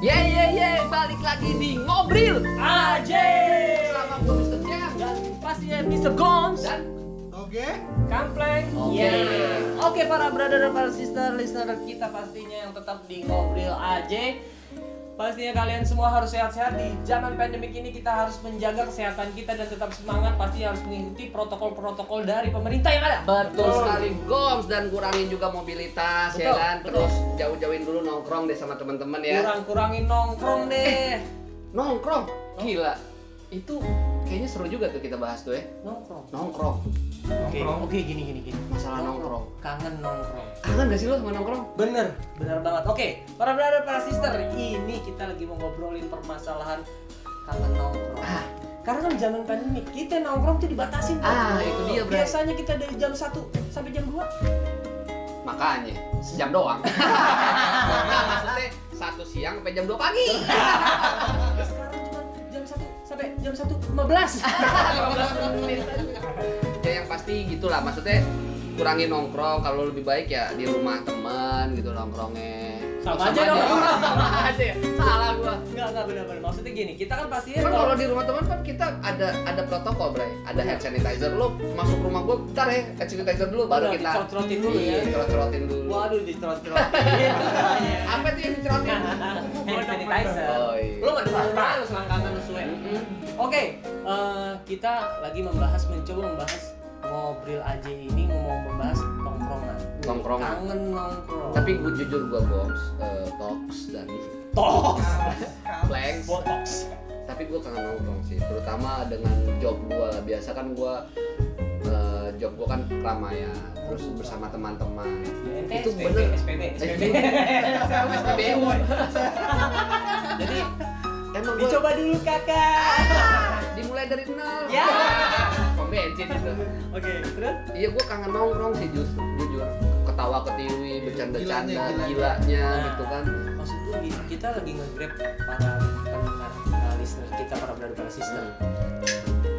Ye ye ye, balik lagi di ngobrol Aje sama gue Mr. Jack dan ya, pastinya Mr. Gons dan Oke, Kampleng. Oke. Yeah. Oke para brother dan para sister listener kita pastinya yang tetap di ngobrol Aje. Pastinya kalian semua harus sehat-sehat di zaman pandemik ini kita harus menjaga kesehatan kita dan tetap semangat pasti harus mengikuti protokol-protokol dari pemerintah yang ada. Betul sekali Goms dan kurangin juga mobilitas ya Betul, kan. betul. Terus jauh-jauhin dulu nongkrong deh sama teman-teman ya. Kurang-kurangin nongkrong deh. Nongkrong. Gila. Itu kayaknya seru juga tuh kita bahas tuh ya. Nongkrong. Nongkrong. Oke, Nongkrong. oke gini gini gini. Masalah nongkrong. Kangen nongkrong. Kangen gak sih lo sama nongkrong? Bener, bener banget. Oke, para brother, para sister, ini kita lagi mau ngobrolin permasalahan kangen nongkrong. Ah. Karena kan zaman pandemi, kita nongkrong tuh dibatasin. Pak. Ah, itu dia, Ah, Bray. Biasanya kita dari jam 1 sampai jam 2. Makanya sejam doang. Nah, maksudnya satu siang sampai jam 2 pagi. ah. Sekarang cuma jam 1 sampai jam 1 15. Ah. 15 menit. ya yang pasti gitulah maksudnya kurangin nongkrong kalau lebih baik ya di rumah teman gitu nongkrongnya Sama aja dong. sama aja ya salah gua Enggak, enggak bener-bener. Maksudnya gini, kita kan pastinya Cuman kalau di rumah teman kan kita ada ada protokol, Bray. Ada hand sanitizer lo masuk rumah gua, bentar ya, hand sanitizer dulu baru Udah, kita dicocrotin dulu ya. Iya, cerot-cerotin dulu. Waduh, dicerot-cerotin. Apa tuh yang dicorotin? Hand sanitizer. Oh, iya. Lo nggak ada apa-apa, lo selangkangan lo suwe. Oke, eh, kita lagi membahas, mencoba membahas ngobrol aja ini mau membahas tongkrongan. Tongkrongan. Kangen nongkrong. Tapi gua jujur gua box, eh, box dan tos. planks. Botox. tapi gue kangen nongkrong sih terutama dengan job gue biasa kan gue eh, job gue kan keramaian terus bersama teman-teman Ente Itu SPB, bener. SPB, SPB. SPBU jadi emang gue Dicoba dulu kakak. dimulai dari nol Ya. pom bensin gitu Oke, terus? iya gue kangen nongkrong sih justru jujur ketawa ketiwi bercanda-canda Gilanya, gilanya, gilanya. gitu kan Maksud gue gini, kita lagi nge-grab para pendengar, para listener kita, para brother, para sister.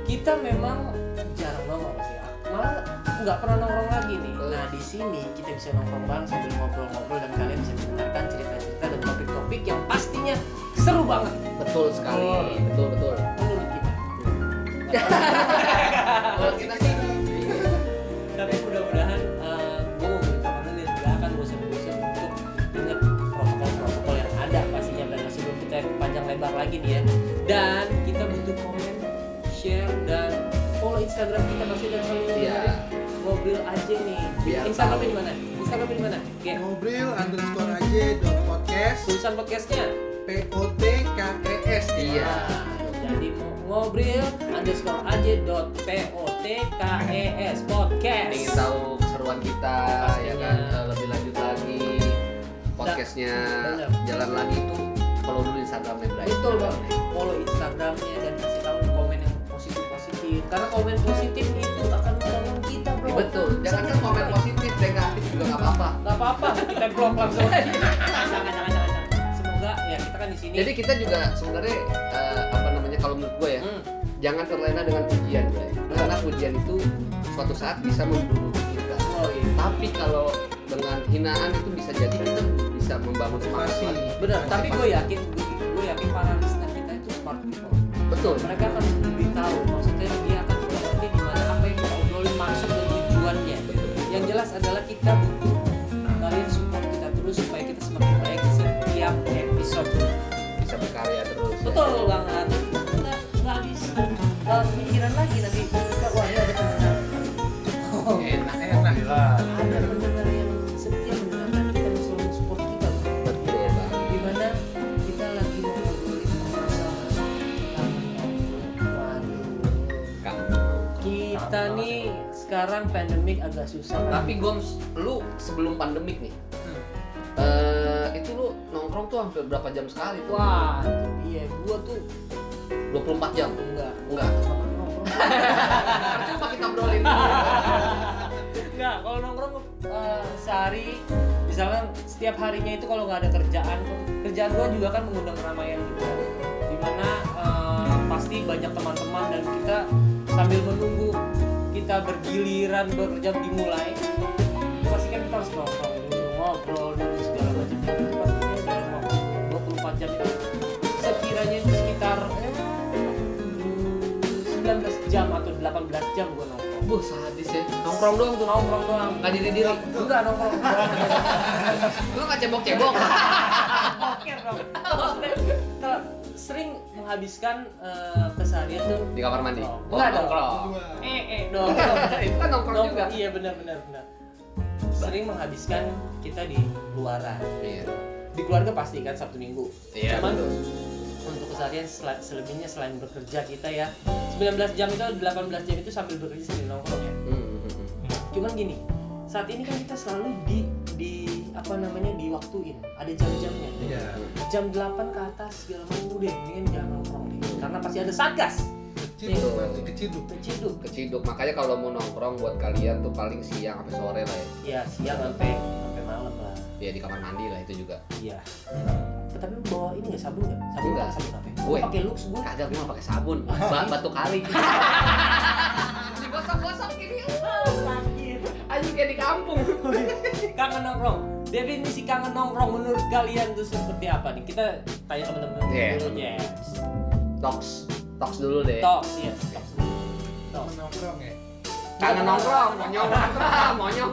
kita memang jarang nongkrong sih ah. malah nggak pernah nongkrong lagi nih Betul. nah di sini kita bisa nongkrong bareng sambil ngobrol-ngobrol dan kalian bisa mendengarkan cerita-cerita dan topik-topik yang pastinya seru banget betul sekali betul betul menurut kita kalau kita sih tapi mudah-mudahan gue mau beritahu teman nih gak ya. akan bosan-bosan untuk ingat protokol-protokol yang ada pastinya dan sebelum kita panjang lebar lagi nih ya dan kita butuh komen share dan follow Instagram kita pasti dan selalu Iya. mobil aja nih Biar Instagramnya tahu. di mana Instagramnya di mana Gen ngobrol underscore aja dot podcast tulisan podcastnya p o t k e s Iya. Nah, jadi mau ngobrol underscore aja dot p o t k e s podcast ingin tahu keseruan kita ya Pastinya. kan eh, lebih lanjut lagi podcastnya Bener. jalan lagi itu follow dulu Iya, Instagramnya Bray betul bang follow instagramnya dan kasih tahu komen yang positif positif karena komen positif itu akan membangun kita bro Iya, betul jangan kan Senang komen banget. positif negatif juga nggak apa-apa nggak apa apa kita blok langsung Jangan, jangan, jangan, jangan. semoga ya kita kan di sini jadi kita juga sebenarnya eh, apa namanya kalau menurut gue ya Hmm, jangan terlena dengan pujian Bray karena pujian itu suatu saat bisa membunuh kita oh iya tapi kalau dengan hinaan itu bisa jadi kita bisa membangun semangat Motivasi. lagi benar tapi gue yakin gue yakin para listener kita itu smart people betul mereka akan lebih tahu maksudnya dia akan mengerti di mana apa yang kita obrolin maksud dan tujuannya yang jelas adalah kita butuh kalian support kita terus supaya kita semakin baik setiap episode bisa berkarya terus ya. betul banget kita nggak bisa nggak pikiran lagi nanti kita wah ini ada pendengar enak ada pendengar yang setia mendengarkan kita dan selalu support kita betul ya, banget di mana kita lagi mau ngobrolin permasalahan waduh Kamu. Kita nih sekarang pandemik agak susah. Tapi Goms, lu sebelum pandemik nih, eh itu lu nongkrong tuh hampir berapa jam sekali tuh? wah, itu dia gua tuh 24 jam. enggak Enggak. kalau nongkrong. Percuma kita brolin. enggak, kalau nongkrong eh, sehari misalkan setiap harinya itu kalau nggak ada kerjaan, kerjaan gua juga kan mengundang keramaian gitu. Dimana eh, pasti banyak teman-teman dan kita sambil menunggu kita bergiliran bekerja dimulai pasti kan kita harus nongkrong dulu, ngobrol eh, jam gue nongkrong Buh, sadis ya. Nongkrong doang tuh. nongkrong doang Nggak diri-diri. enggak nongkrong Lu nggak cebok-cebok. kan? Poker dong. Maksudnya, kalau sering menghabiskan eh, keseharian tuh Di kamar mandi? nongkrong. Oh, Enggak nongkrong. nongkrong. Dua. Eh, eh, nongkrong. Itu kan nongkrong juga. Iya, benar benar benar. Sering menghabiskan kita di luaran. Iya. Di keluarga pasti kan Sabtu Minggu. Iya, Cuman betul. untuk keseharian sel- selebihnya selain bekerja kita ya 19 jam itu 18 jam itu sambil bekerja sambil nongkrong ya. Hmm, hmm, hmm. Cuman gini, saat ini kan kita selalu di di apa namanya diwaktuin. Ada jam-jamnya. Iya. jam 8 ke atas segala macam udah mendingan jangan nongkrong deh karena pasti ada satgas Keciduk, masih keciduk. keciduk Keciduk. Makanya kalau mau nongkrong buat kalian tuh paling siang sampai sore lah ya. ya siang sampai sampai malam lah Ya di kamar mandi lah itu juga. iya tapi lu bawa ini nggak sabun nggak sabun Nggak. nggak sabun apa Gue. gue pakai lux gue Kagak gue mah pakai sabun. Ba- batu kali. Digosok-gosok gini. uh, sakit Anjing kayak di kampung. kangen nongkrong definisi kangen nongkrong menurut kalian tuh seperti apa nih kita tanya teman-teman Iya. dulu James Iya. Tox. Tox dulu deh. talks ya talks Temen talks nongkrong ya. Kangen nongkrong, monyong. Monyong.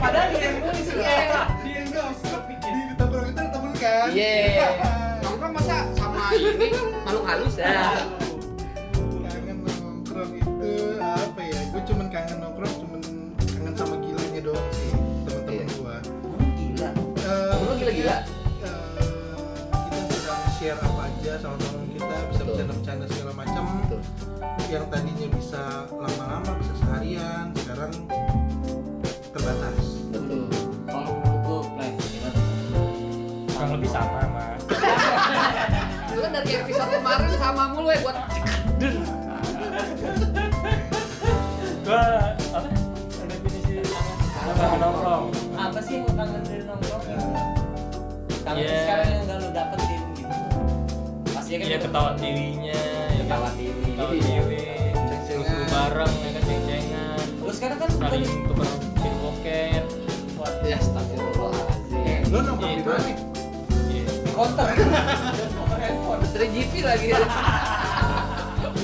padahal dia yang nulis ya Di endorse. Di nongkrong itu ada temen kan? Iya. Nongkrong masa sama ini makhluk halus ya. Kangen nongkrong itu apa ya? Gue cuman kangen nongkrong, cuman kangen sama gilanya doang sih temen-temen Iya. gue. gila Eh, Lu gila-gila. eh, kita bisa share apa aja sama teman kita bisa Betul. bercanda-bercanda segala macam Betul. yang tadinya bisa lama-lama bisa seharian sekarang terbatas Betul. kalau menurut gue plan gimana? kurang lebih sama mas Lu kan dari episode kemarin sama mulu ya buat gua apa definisi sama nongkrong apa sih yang lo kangen dari nongkrong gitu? Kangen Yeah. sekarang yang udah lo dapetin gitu. Pasti kan iya lo- ketawa dirinya ya kan ketawa diri. ketawa diri Ceng-cengan. terus bareng ya kan ceng-cengan Lo sekarang kan bukan saling tukar pin poket ya astagfirullahaladzim. Eh, lo nongkrong di Gitu. mana Iya. di konter. Nomor handphone. 3GP lagi ya.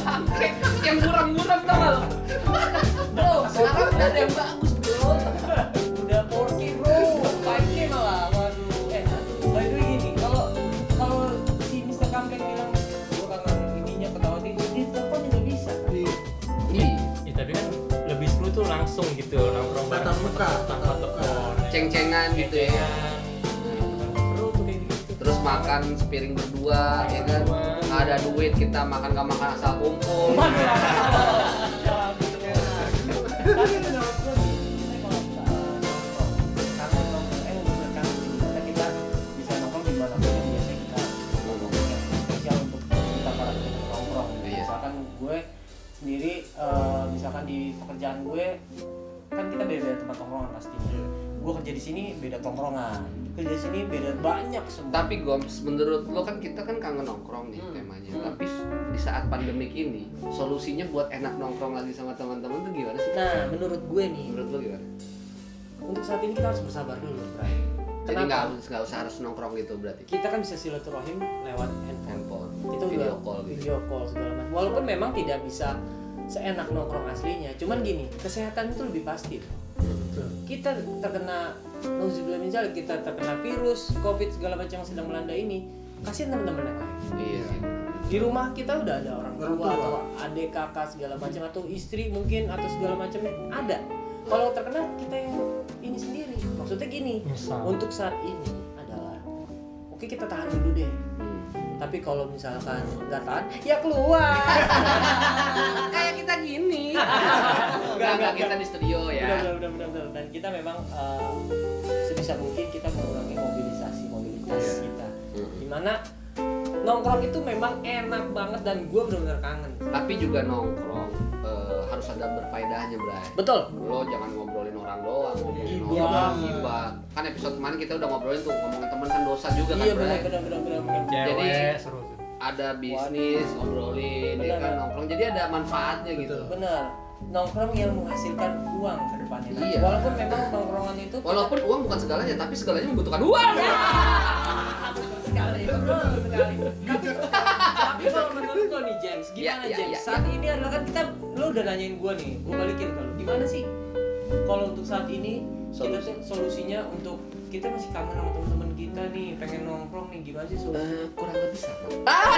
Bangke, yang buram-buram tau gak lo? Bro, sekarang udah ada yang bagus bro. Udah 4K bro, 5K malah. Waduh. Eh, by the way gini, kalau kalau si Mr. Kampeng bilang gue kangen ininya ketawa diri, di telepon juga bisa. kan? di Ih, Ya, tapi kan lebih seru tuh langsung gitu nongkrong bareng tatap muka tanpa tatap muka telepon ceng-cengan gitu ya. Ceng-cengan. seru tuh kayak gitu Terus makan sepiring berdua, ya kan? Nggak ada duit, kita makan gak makan asal kumpul. tapi menurut gue nih, kita kalau uh, nongkrong, kangen nongkrong, eh bener kangen. Karena kita bisa nongkrong di mana pun yang biasa kita nongkrong, yang spesial untuk kita para teman nongkrong. Iya. Misalkan gue sendiri, eh, misalkan di pekerjaan gue, kan kita beda tempat nongkrongan pastinya. Gue kerja di sini beda tongkrongan, kerja di sini beda banyak semua. Tapi Goms, menurut lo kan kita kan kangen nongkrong nih Hmm. temanya. Hmm. Tapi di saat pandemik ini, solusinya buat enak nongkrong lagi sama teman-teman tuh gimana sih? nah menurut gue nih, Menurut lo gimana? untuk saat ini kita harus bersabar dulu, Bray. Jadi Kenapa? nggak harus nggak usah harus nongkrong gitu berarti. kita kan bisa silaturahim lewat Handphone, handphone. Itu video udah call gitu. video call segala macam. Walaupun memang tidak bisa seenak nongkrong aslinya, cuman gini, kesehatan itu lebih pasti. Kita terkena nauzubillah min zalik, kita terkena virus, covid segala macam yang sedang melanda ini, kasihan teman-teman yang lain. Iya sih. Di rumah kita udah ada orang Orang tua tua. atau adik kakak segala macam atau istri mungkin atau segala macamnya ada. Kalau terkena kita yang ini sendiri. Maksudnya gini, Nyesal. untuk saat ini adalah oke kita tahan dulu deh Hmm. tapi kalau misalkan nggak tahan ya keluar Kayak kita gini. Nggak, Enggak enggak nggak, kita di studio ya. benar benar benar benar dan kita memang eh, sebisa mungkin kita mengurangi mobilisasi mobilitas kita Mm. dimana nongkrong itu memang enak banget dan gue benar-benar kangen Tapi juga nongkrong eh, harus ada berfaedahnya, Bray. betul Lo jangan ngobrolin orang doang, ngobrolin Iya. orang gibah. Kan episode kemarin kita udah ngobrolin tuh ngomongin temen kan dosa juga kan, iya Bray. benar benar benar benar benar. Iya. cewek Jadi- seru tuh Ada bisnis, ngobrolin, ya Benar. kan nongkrong. Jadi ada manfaatnya gitu. Betul. benar nongkrong yang menghasilkan uang ke depannya Iya. walaupun memang nongkrongan itu Walaupun uang bukan segalanya, tapi segalanya membutuhkan uang. ya. sekali betul sekali tapi tapi kalau menurut lo lo nih James, gimana Iya, iya, James? iya, saat ini adalah kan kita lo udah nanyain gue nih, gue balikin ke lo. Gimana sih kalau untuk saat ini kita Solusi. tuh solusinya untuk kita masih kangen sama teman-teman kita nih, pengen nongkrong nih gimana sih solusi? Eh, kurang lebih sama.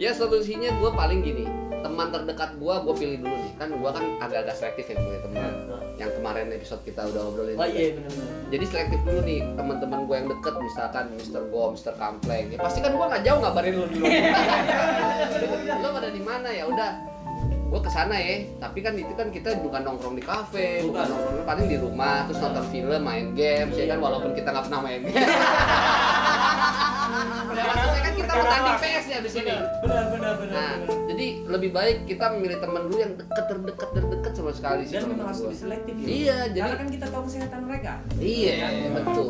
ya solusinya gue paling gini teman terdekat gue gue pilih dulu nih kan gue kan agak-agak selektif ya punya teman yang kemarin episode kita udah ngobrolin Hmm. Nah, Oh juga. iya benar-benar. jadi selektif dulu nih teman-teman gue yang deket misalkan Mr. Gom, Mr. Kampleng ya pasti kan gue nggak jauh ngabarin lo dulu lo pada di mana ya udah gue kesana ya tapi kan itu kan kita bukan nongkrong di kafe bukan Bukan. nongkrong paling di rumah terus nonton film main games ya kan Iya. walaupun kita nggak pernah main game ya maksudnya kan kita bertanding PS ya di sini Benar benar benar. nah benar. jadi lebih baik kita memilih teman dulu yang deket terdekat terdekat sama sekali sih Dan teman memang harus gua. lebih selektif ya. iya jadi Karena kan kita tahu kesehatan mereka. Iya, betul.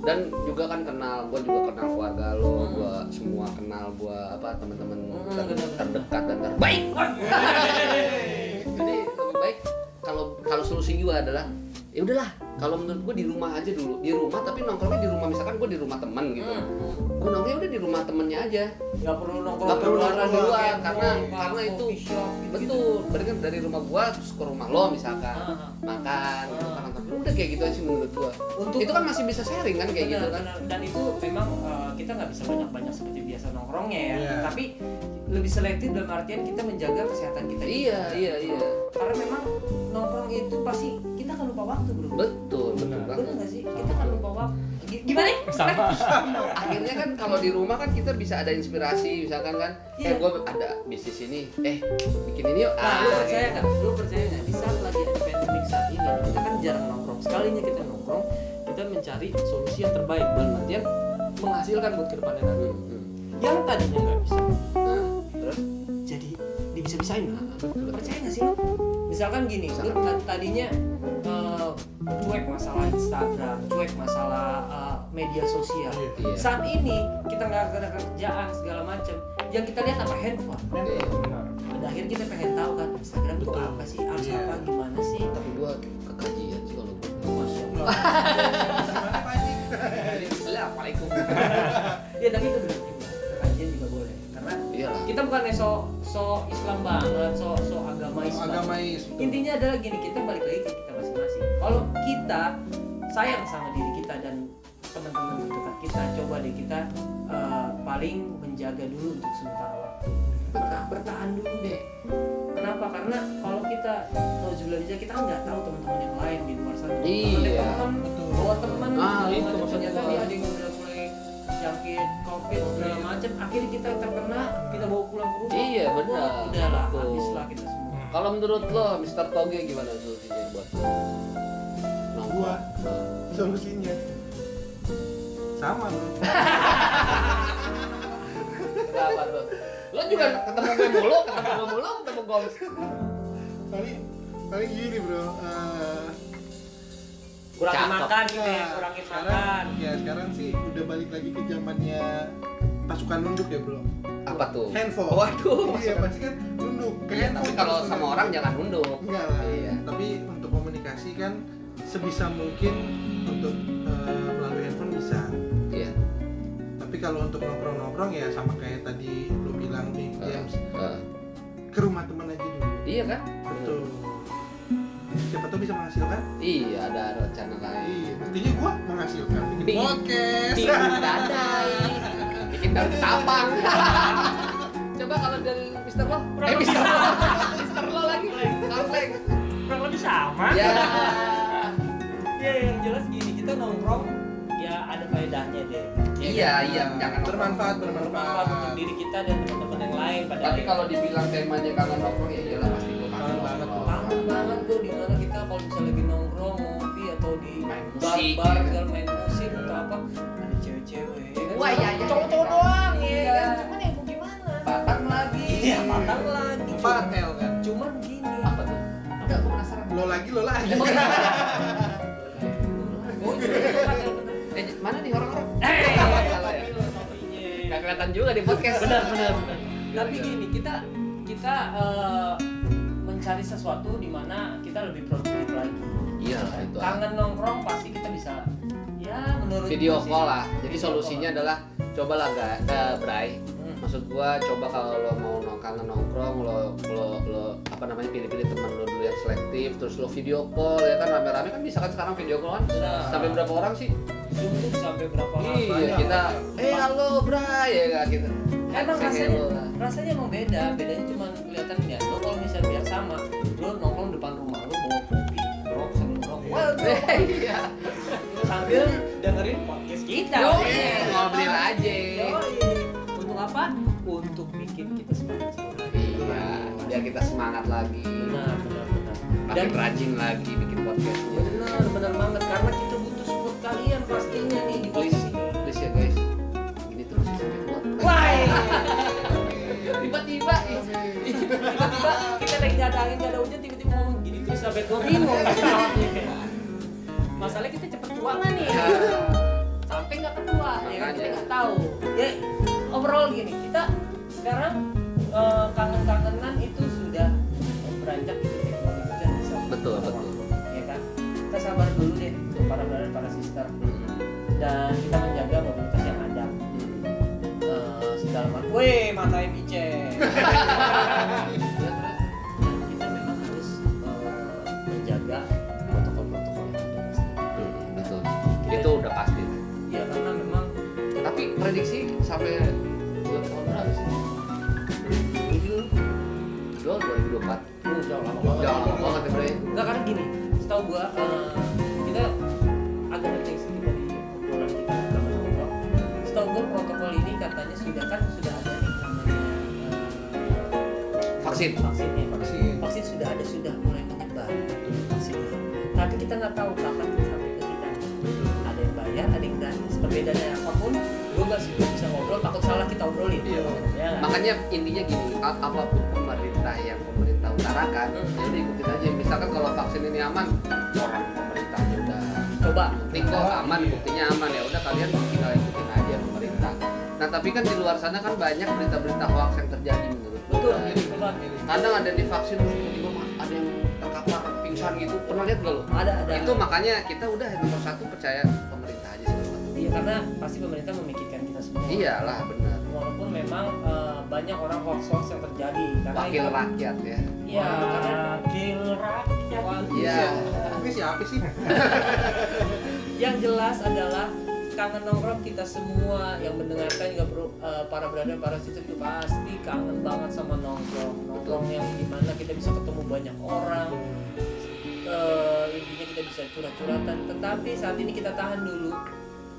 Dan juga kan kenal, gue juga kenal keluarga lo, gue semua kenal gue apa teman-teman Hmm, ter- benar. terdekat dan terbaik. Iya. Jadi lebih baik kalau kalau solusi gue adalah ya udahlah kalau menurut gue di rumah aja dulu di rumah tapi nongkrongnya di rumah misalkan gue di rumah temen gitu Hmm. gue nongkrongnya udah di rumah temennya aja Gak perlu nongkrong nggak perlu keluar, nongkrong di keluar, luar keluar, karena keluar, karena itu coffee shop, gitu-gitu. betul berarti kan dari rumah gue terus ke rumah lo misalkan Ah. makan gitu Ah. kan nonton. udah kayak gitu aja sih menurut gue Untuk- itu kan masih bisa sharing kan kayak gitu Benar, kan benar. dan itu memang uh, kita nggak bisa banyak banyak seperti biasa nongkrongnya ya Iya. tapi lebih selektif dalam artian kita menjaga kesehatan kita Iya, juga. iya, iya. karena memang nongkrong itu pasti kita akan lupa waktu bro Betul, betul Benar. banget. benar nggak sih kita akan lupa waktu G- gimana sama Akhirnya kan kalau di rumah kan kita bisa ada inspirasi misalkan kan, eh Iya. gue ada bisnis ini, eh bikin ini yuk. Nah, lu gitu. percaya nggak? Lu percaya nggak? Di saat lagi ada pandemik saat ini, kita kan jarang nongkrong. Sekalinya kita nongkrong, kita mencari solusi yang terbaik dalam artian menghasilkan buat kedepannya nanti. Hmm, hmm. Yang tadinya nggak bisa, Nah, terus jadi dibisa-bisain lah. betul. Percaya nggak sih lu? Misalkan gini, lu ta- tadinya eh, cuek masalah Instagram, cuek masalah eh, media sosial. Iya. Iya. Saat ini kita nggak ada kerjaan segala macam. Yang kita lihat apa handphone. Oke. benar Pada akhirnya kita pengen tahu kan Instagram tuh Betul. apa sih, harus Iya. apa, gimana sih? Tapi gue kekajian sih kalau gue. Masya Allah. Gimana, Pak Haji? Assalamualaikum. ya tapi itu benar juga. Kajian juga boleh. Karena Iya lah. kita bukan so so Islam banget, so so agama Oh, Islam. Agamais. Intinya adalah gini, kita balik lagi ke kita masing-masing. Kalau kita sayang sama diri kita dan teman-teman terdekat kita, coba deh kita eh, paling menjaga dulu untuk sementara waktu. Bertahan, bertahan dulu deh. Kenapa? Karena kalau kita kalau aja kita kan nggak tahu teman-teman yang lain di luar sana. Iya. Teman, Betul. bawa Ah, teman, segala itu macam. maksud ternyata gua. dia ada yang udah mulai jangkit covid segala macam. Akhirnya kita terkena, kita bawa pulang ke rumah. Iya, benar. Wah, Udahlah, Betul. habislah kita semua. Kalau menurut lo, Mr. Toge gimana solusinya buat lo? Nongkrong. Gua. Solusinya sama bro. Kenapa tuh? Lo juga ketemu gue mulu, ketemu gue mulu, ketemu gue. Paling paling gini bro. eh, kurangin Cakep. makan gitu ya, Nah, kurangin sekarang- makan. Ya sekarang sih udah balik lagi ke zamannya pasukan nunduk ya bro. Apa tuh? Handphone. Waduh. Iya pasti kan nunduk. Oh, Iya, ke tapi handphone kalau terus sama nunduk. orang jangan nunduk. enggak lah. Iya. Tapi untuk komunikasi kan sebisa mungkin untuk eh, melalui handphone bisa. Iya. Tapi kalau untuk nongkrong-nongkrong ya sama kayak tadi lu bilang nih James Heeh. ke rumah teman aja dulu. Iya kan? Betul. Siapa tahu bisa menghasilkan? Hmm. Iya, ada rencana lain. Iya. Intinya gua menghasilkan. Bikin- Bikin podcast. Bikin dadai, bikin daun tapang. Coba kalau dari Mister Lo, eh Mister Lo, Mister Lo lagi, Kampleng. kurang lebih sama Ya, Ya yang jelas gini, kita nongkrong ya ada faedahnya deh. Ya iya, kan? iya, jangan bermanfaat Bermanfaat bermanfaat untuk diri kita dan teman-teman yang lain pada Tapi akhirnya. kalau dibilang temanya kangen nongkrong ya iyalah pasti gue kangen Kangen banget nongkrong. kangen banget tuh dimana kita kalau misalnya lagi nongkrong ngopi atau di Main musik, bar-bar ya kan? segala main musik atau apa ada cewek-cewek ya kan? Wah, iya, iya, cowok-cowok iya. doang ya Iya. kan cuman ya mau gimana Patang lagi. Iya. iya matang lagi Empat L kan. cuman gini Apa tuh? Enggak, gue penasaran. Lo lagi lo lagi. Emang Oh, iya, empat L, bener. Eh, mana nih orang-orang? Eh, salah ya. iya. iya, Gak kelihatan juga di podcast. benar benar benar tapi gini kita kita eh, mencari sesuatu di mana kita lebih produktif lagi Gitu kan. Iya, itu aja. kangen nongkrong pasti kita bisa ya menurut video gue sih, call lah. Jadi video solusinya call. adalah cobalah ga eh, Bray Hmm. maksud gua coba kalau lo mau nong kangen nongkrong lo lo lo apa namanya pilih-pilih teman lo dulu yang selektif terus lo video call ya kan rame-rame kan bisa kan sekarang video call kan Bisa. sampai berapa orang sih Zoom tuh sampai berapa lama? iya banyak. kita eh halo Bray ya kan kita Say Emang rasanya hello lah. rasanya emang beda, bedanya cuma kelihatan ya. Lo kalau misalnya biar sama, lo nongkrong depan rumah lo bawa kopi, ngerokok sambil ngerokok. Waduh, iya sambil dengerin podcast kita. yo Iya. ngobrol aja Yoi. Untuk apa? Untuk bikin kita semangat semangat. iya biar kita semangat lagi Benar, benar, benar. Dan makin rajin lagi bikin podcastnya benar, benar banget karena kita butuh support kalian pastinya nih di please posisi. please ya guys ini terus ya sampai tua. Wah. Iya. tiba-tiba ih. eh, tiba-tiba kita lagi nggak ada angin nggak ada hujan tiba-tiba ngomong gini terus sampai tua bingung gitu jawabnya. masalahnya kita cepet tua nggak nih sampai nggak ketua ya kan kita Makanya. nggak tahu ya overall gini kita sekarang eh, kangen-kangenan itu sudah beranjak ke teknologi dan bisa Betul, betul. ya kan kita sabar dulu deh untuk para brother para sister Hmm. dan kita menjaga mobilitas yang ada Hmm. Eh, segala macam. Weh, matain Ice. Dan kita memang harus eh, menjaga protokol-protokol yang ada pasti. Hmm, betul itu udah pasti Ya karena memang tapi prediksi sampai bulan tahun berapa sih tujuh dua dua ribu dua empat uh, jauh lama banget. udah lama banget ya Bray Enggak karena gini, setahu gua eh, kita agak penting sih dari obrolan kita tentang protokol. Setahu gua protokol ini katanya sudah kan sudah ada nih namanya eh, Vaksin. vaksin ya vaksin. Vaksin. vaksin sudah ada sudah mulai menyebar vaksinnya. Tapi kita nggak tahu kapan sampai ke kita. ada yang bayar, ada yang gratis. Perbedaannya apapun, gue nggak sih bisa ngobrol. Takut salah kita obrolin. Iya. Ya nggak? makanya intinya gini a- apapun pemerintah yang pemerintah utarakan ya udah ikutin aja misalkan kalau vaksin ini aman orang pemerintahnya udah Coba. penting kok aman buktinya aman ya udah kalian tinggal ikutin aja pemerintah nah tapi kan di luar sana kan banyak berita-berita hoax yang terjadi menurut gua. Betul. Betul. kadang ada divaksin terus tiba-tiba mah ada yang terkapar pingsan gitu pernah lihat gak lo Ada ada. itu makanya kita udah nomor satu percaya pemerintah aja sih nomor satu. Iya karena pasti pemerintah memikirkan kita semua. iyalah benar Walaupun memang eh, banyak orang hoax hoax yang terjadi. Karena wakil rakyat ya Iya. Wakil rakyat. Iya. ya. Tapi siapa sih? Yang jelas adalah kangen nongkrong kita semua yang mendengarkan juga perlu eh, para berada para sister itu pasti kangen banget sama nongkrong nongkrong yang dimana kita bisa ketemu banyak orang eh, intinya kita bisa curhat-curhatan tetapi saat ini kita tahan dulu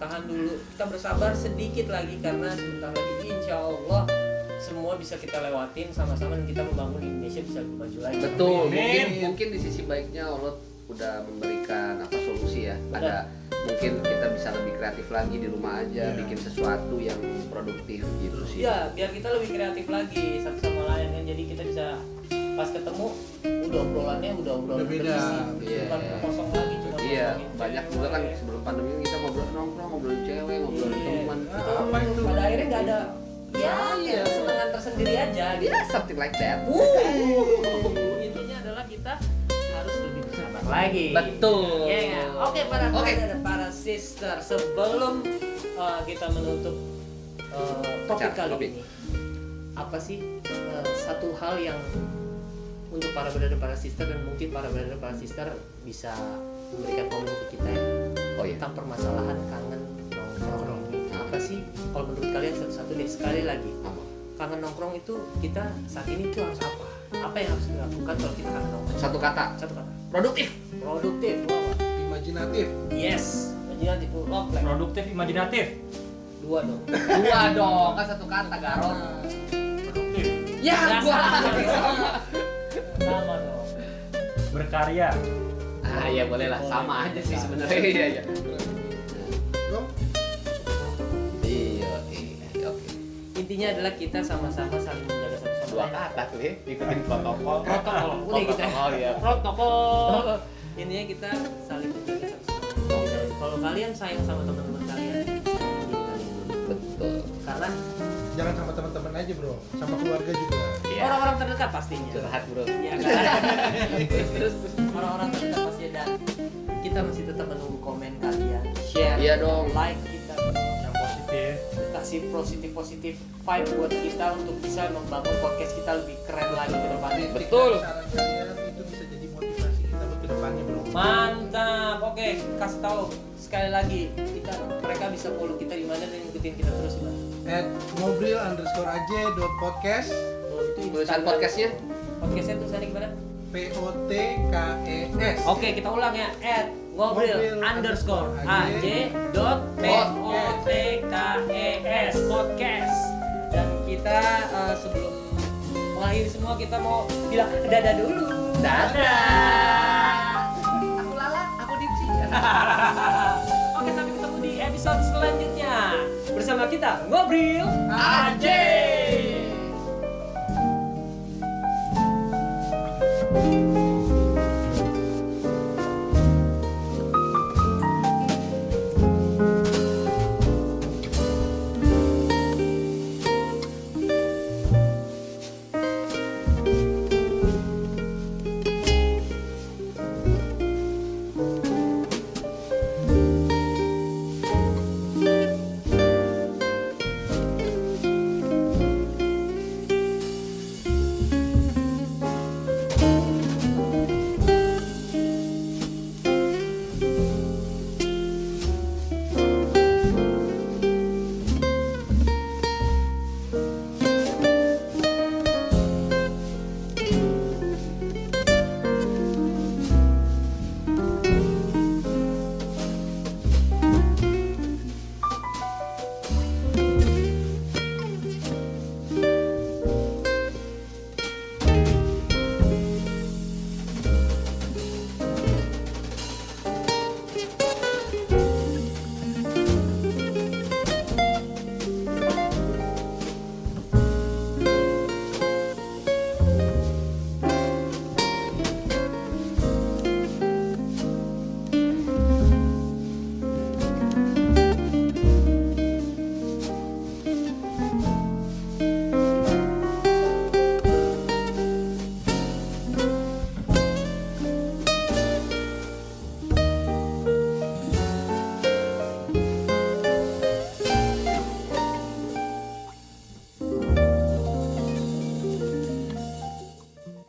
tahan dulu kita bersabar sedikit lagi karena sebentar lagi insya Allah semua bisa kita lewatin sama-sama dan kita membangun Indonesia bisa lebih maju lagi betul mungkin Amin. mungkin di sisi baiknya Allah udah memberikan apa solusi ya ada mungkin kita bisa lebih kreatif lagi di rumah aja Iya. bikin sesuatu yang produktif gitu sih ya biar kita lebih kreatif lagi satu sama lain kan jadi kita bisa pas ketemu udah obrolannya udah obrolan Udah beda. berisi Iya. bukan kosong lagi cuma Iya, ngomongin banyak cewek. juga kan sebelum pandemi kita ngobrol nongkrong, ngobrol cewek, ngobrol Iya. teman. Apa itu? pada akhirnya nggak ada ya Iya. kesenangan tersendiri aja gitu Ya, something like that. Uh, intinya adalah kita harus lebih bersabar lagi. Betul. Iya nggak? Oke para Oke. brother, para sister, sebelum uh, kita menutup uh, topik Acara, kali topik. ini, apa sih uh, satu hal yang untuk para brother, para sister dan mungkin para brother, para sister bisa memberikan komen ke kita ya, Oh iya. tentang permasalahan kangen nongkrong. Nah, Apa sih kalau menurut kalian satu-satu deh sekali lagi Apa? kangen nongkrong itu kita saat ini tuh harus apa? Apa yang harus dilakukan kalau kita kangen nongkrong? Satu kata, Satu kata. produktif. Produktif. Wow. Imajinatif. Yes. Jangan tipu komplek. Produktif, imajinatif. Dua dong. Dua dong, kan satu kata, Garon. Produktif. Ya, Dasar. gua. Sama dong. Berkarya. Ah, ya boleh lah, sama aja sih sebenarnya. Iya, iya. Dong. Iya, iya, oke. Intinya adalah kita sama-sama saling menjaga satu sama Dua lain. kata tuh ya, ikutin protokol. Protokol. Udah gitu. Protokol ya. Protokol. Intinya kita saling menjaga satu sama lain. Dan Kalau kalian sayang sama teman-teman kalian, sayang diri kalian dulu. Betul. karena Jangan sama teman-teman aja bro, sama keluarga juga. Iya. orang-orang terdekat pastinya. Curhat bro. Ya kan? terus terus terus. orang-orang terdekat pasti ada. Kita masih tetap menunggu komen kalian, share, Iya dong. like kita. Yang positif. Kita kasih positif positif vibe buat kita untuk bisa membangun podcast kita lebih keren lagi ke depannya. Kritik Betul. dan saran kalian itu bisa jadi motivasi kita buat kedepannya bro Mantap. Oke, kasih tahu sekali lagi kita mereka bisa follow kita di mana dan ngikutin kita terus di mana. at ngobrol underscore aja dot podcast Oh, itu tulisan Instagram. podcastnya Podcastnya tulisannya gimana? p o t k e s Oke, kita ulang ya. At ngobrol Ngobril underscore aj AJ dot p o podcast. t k e s podcast. Dan kita eh, sebelum mengakhiri semua kita mau bilang dadah dulu. Dadah. Aku Lala, aku Dipsi. Iya. Oke, sampai ketemu di episode selanjutnya bersama kita ngobrol AJ.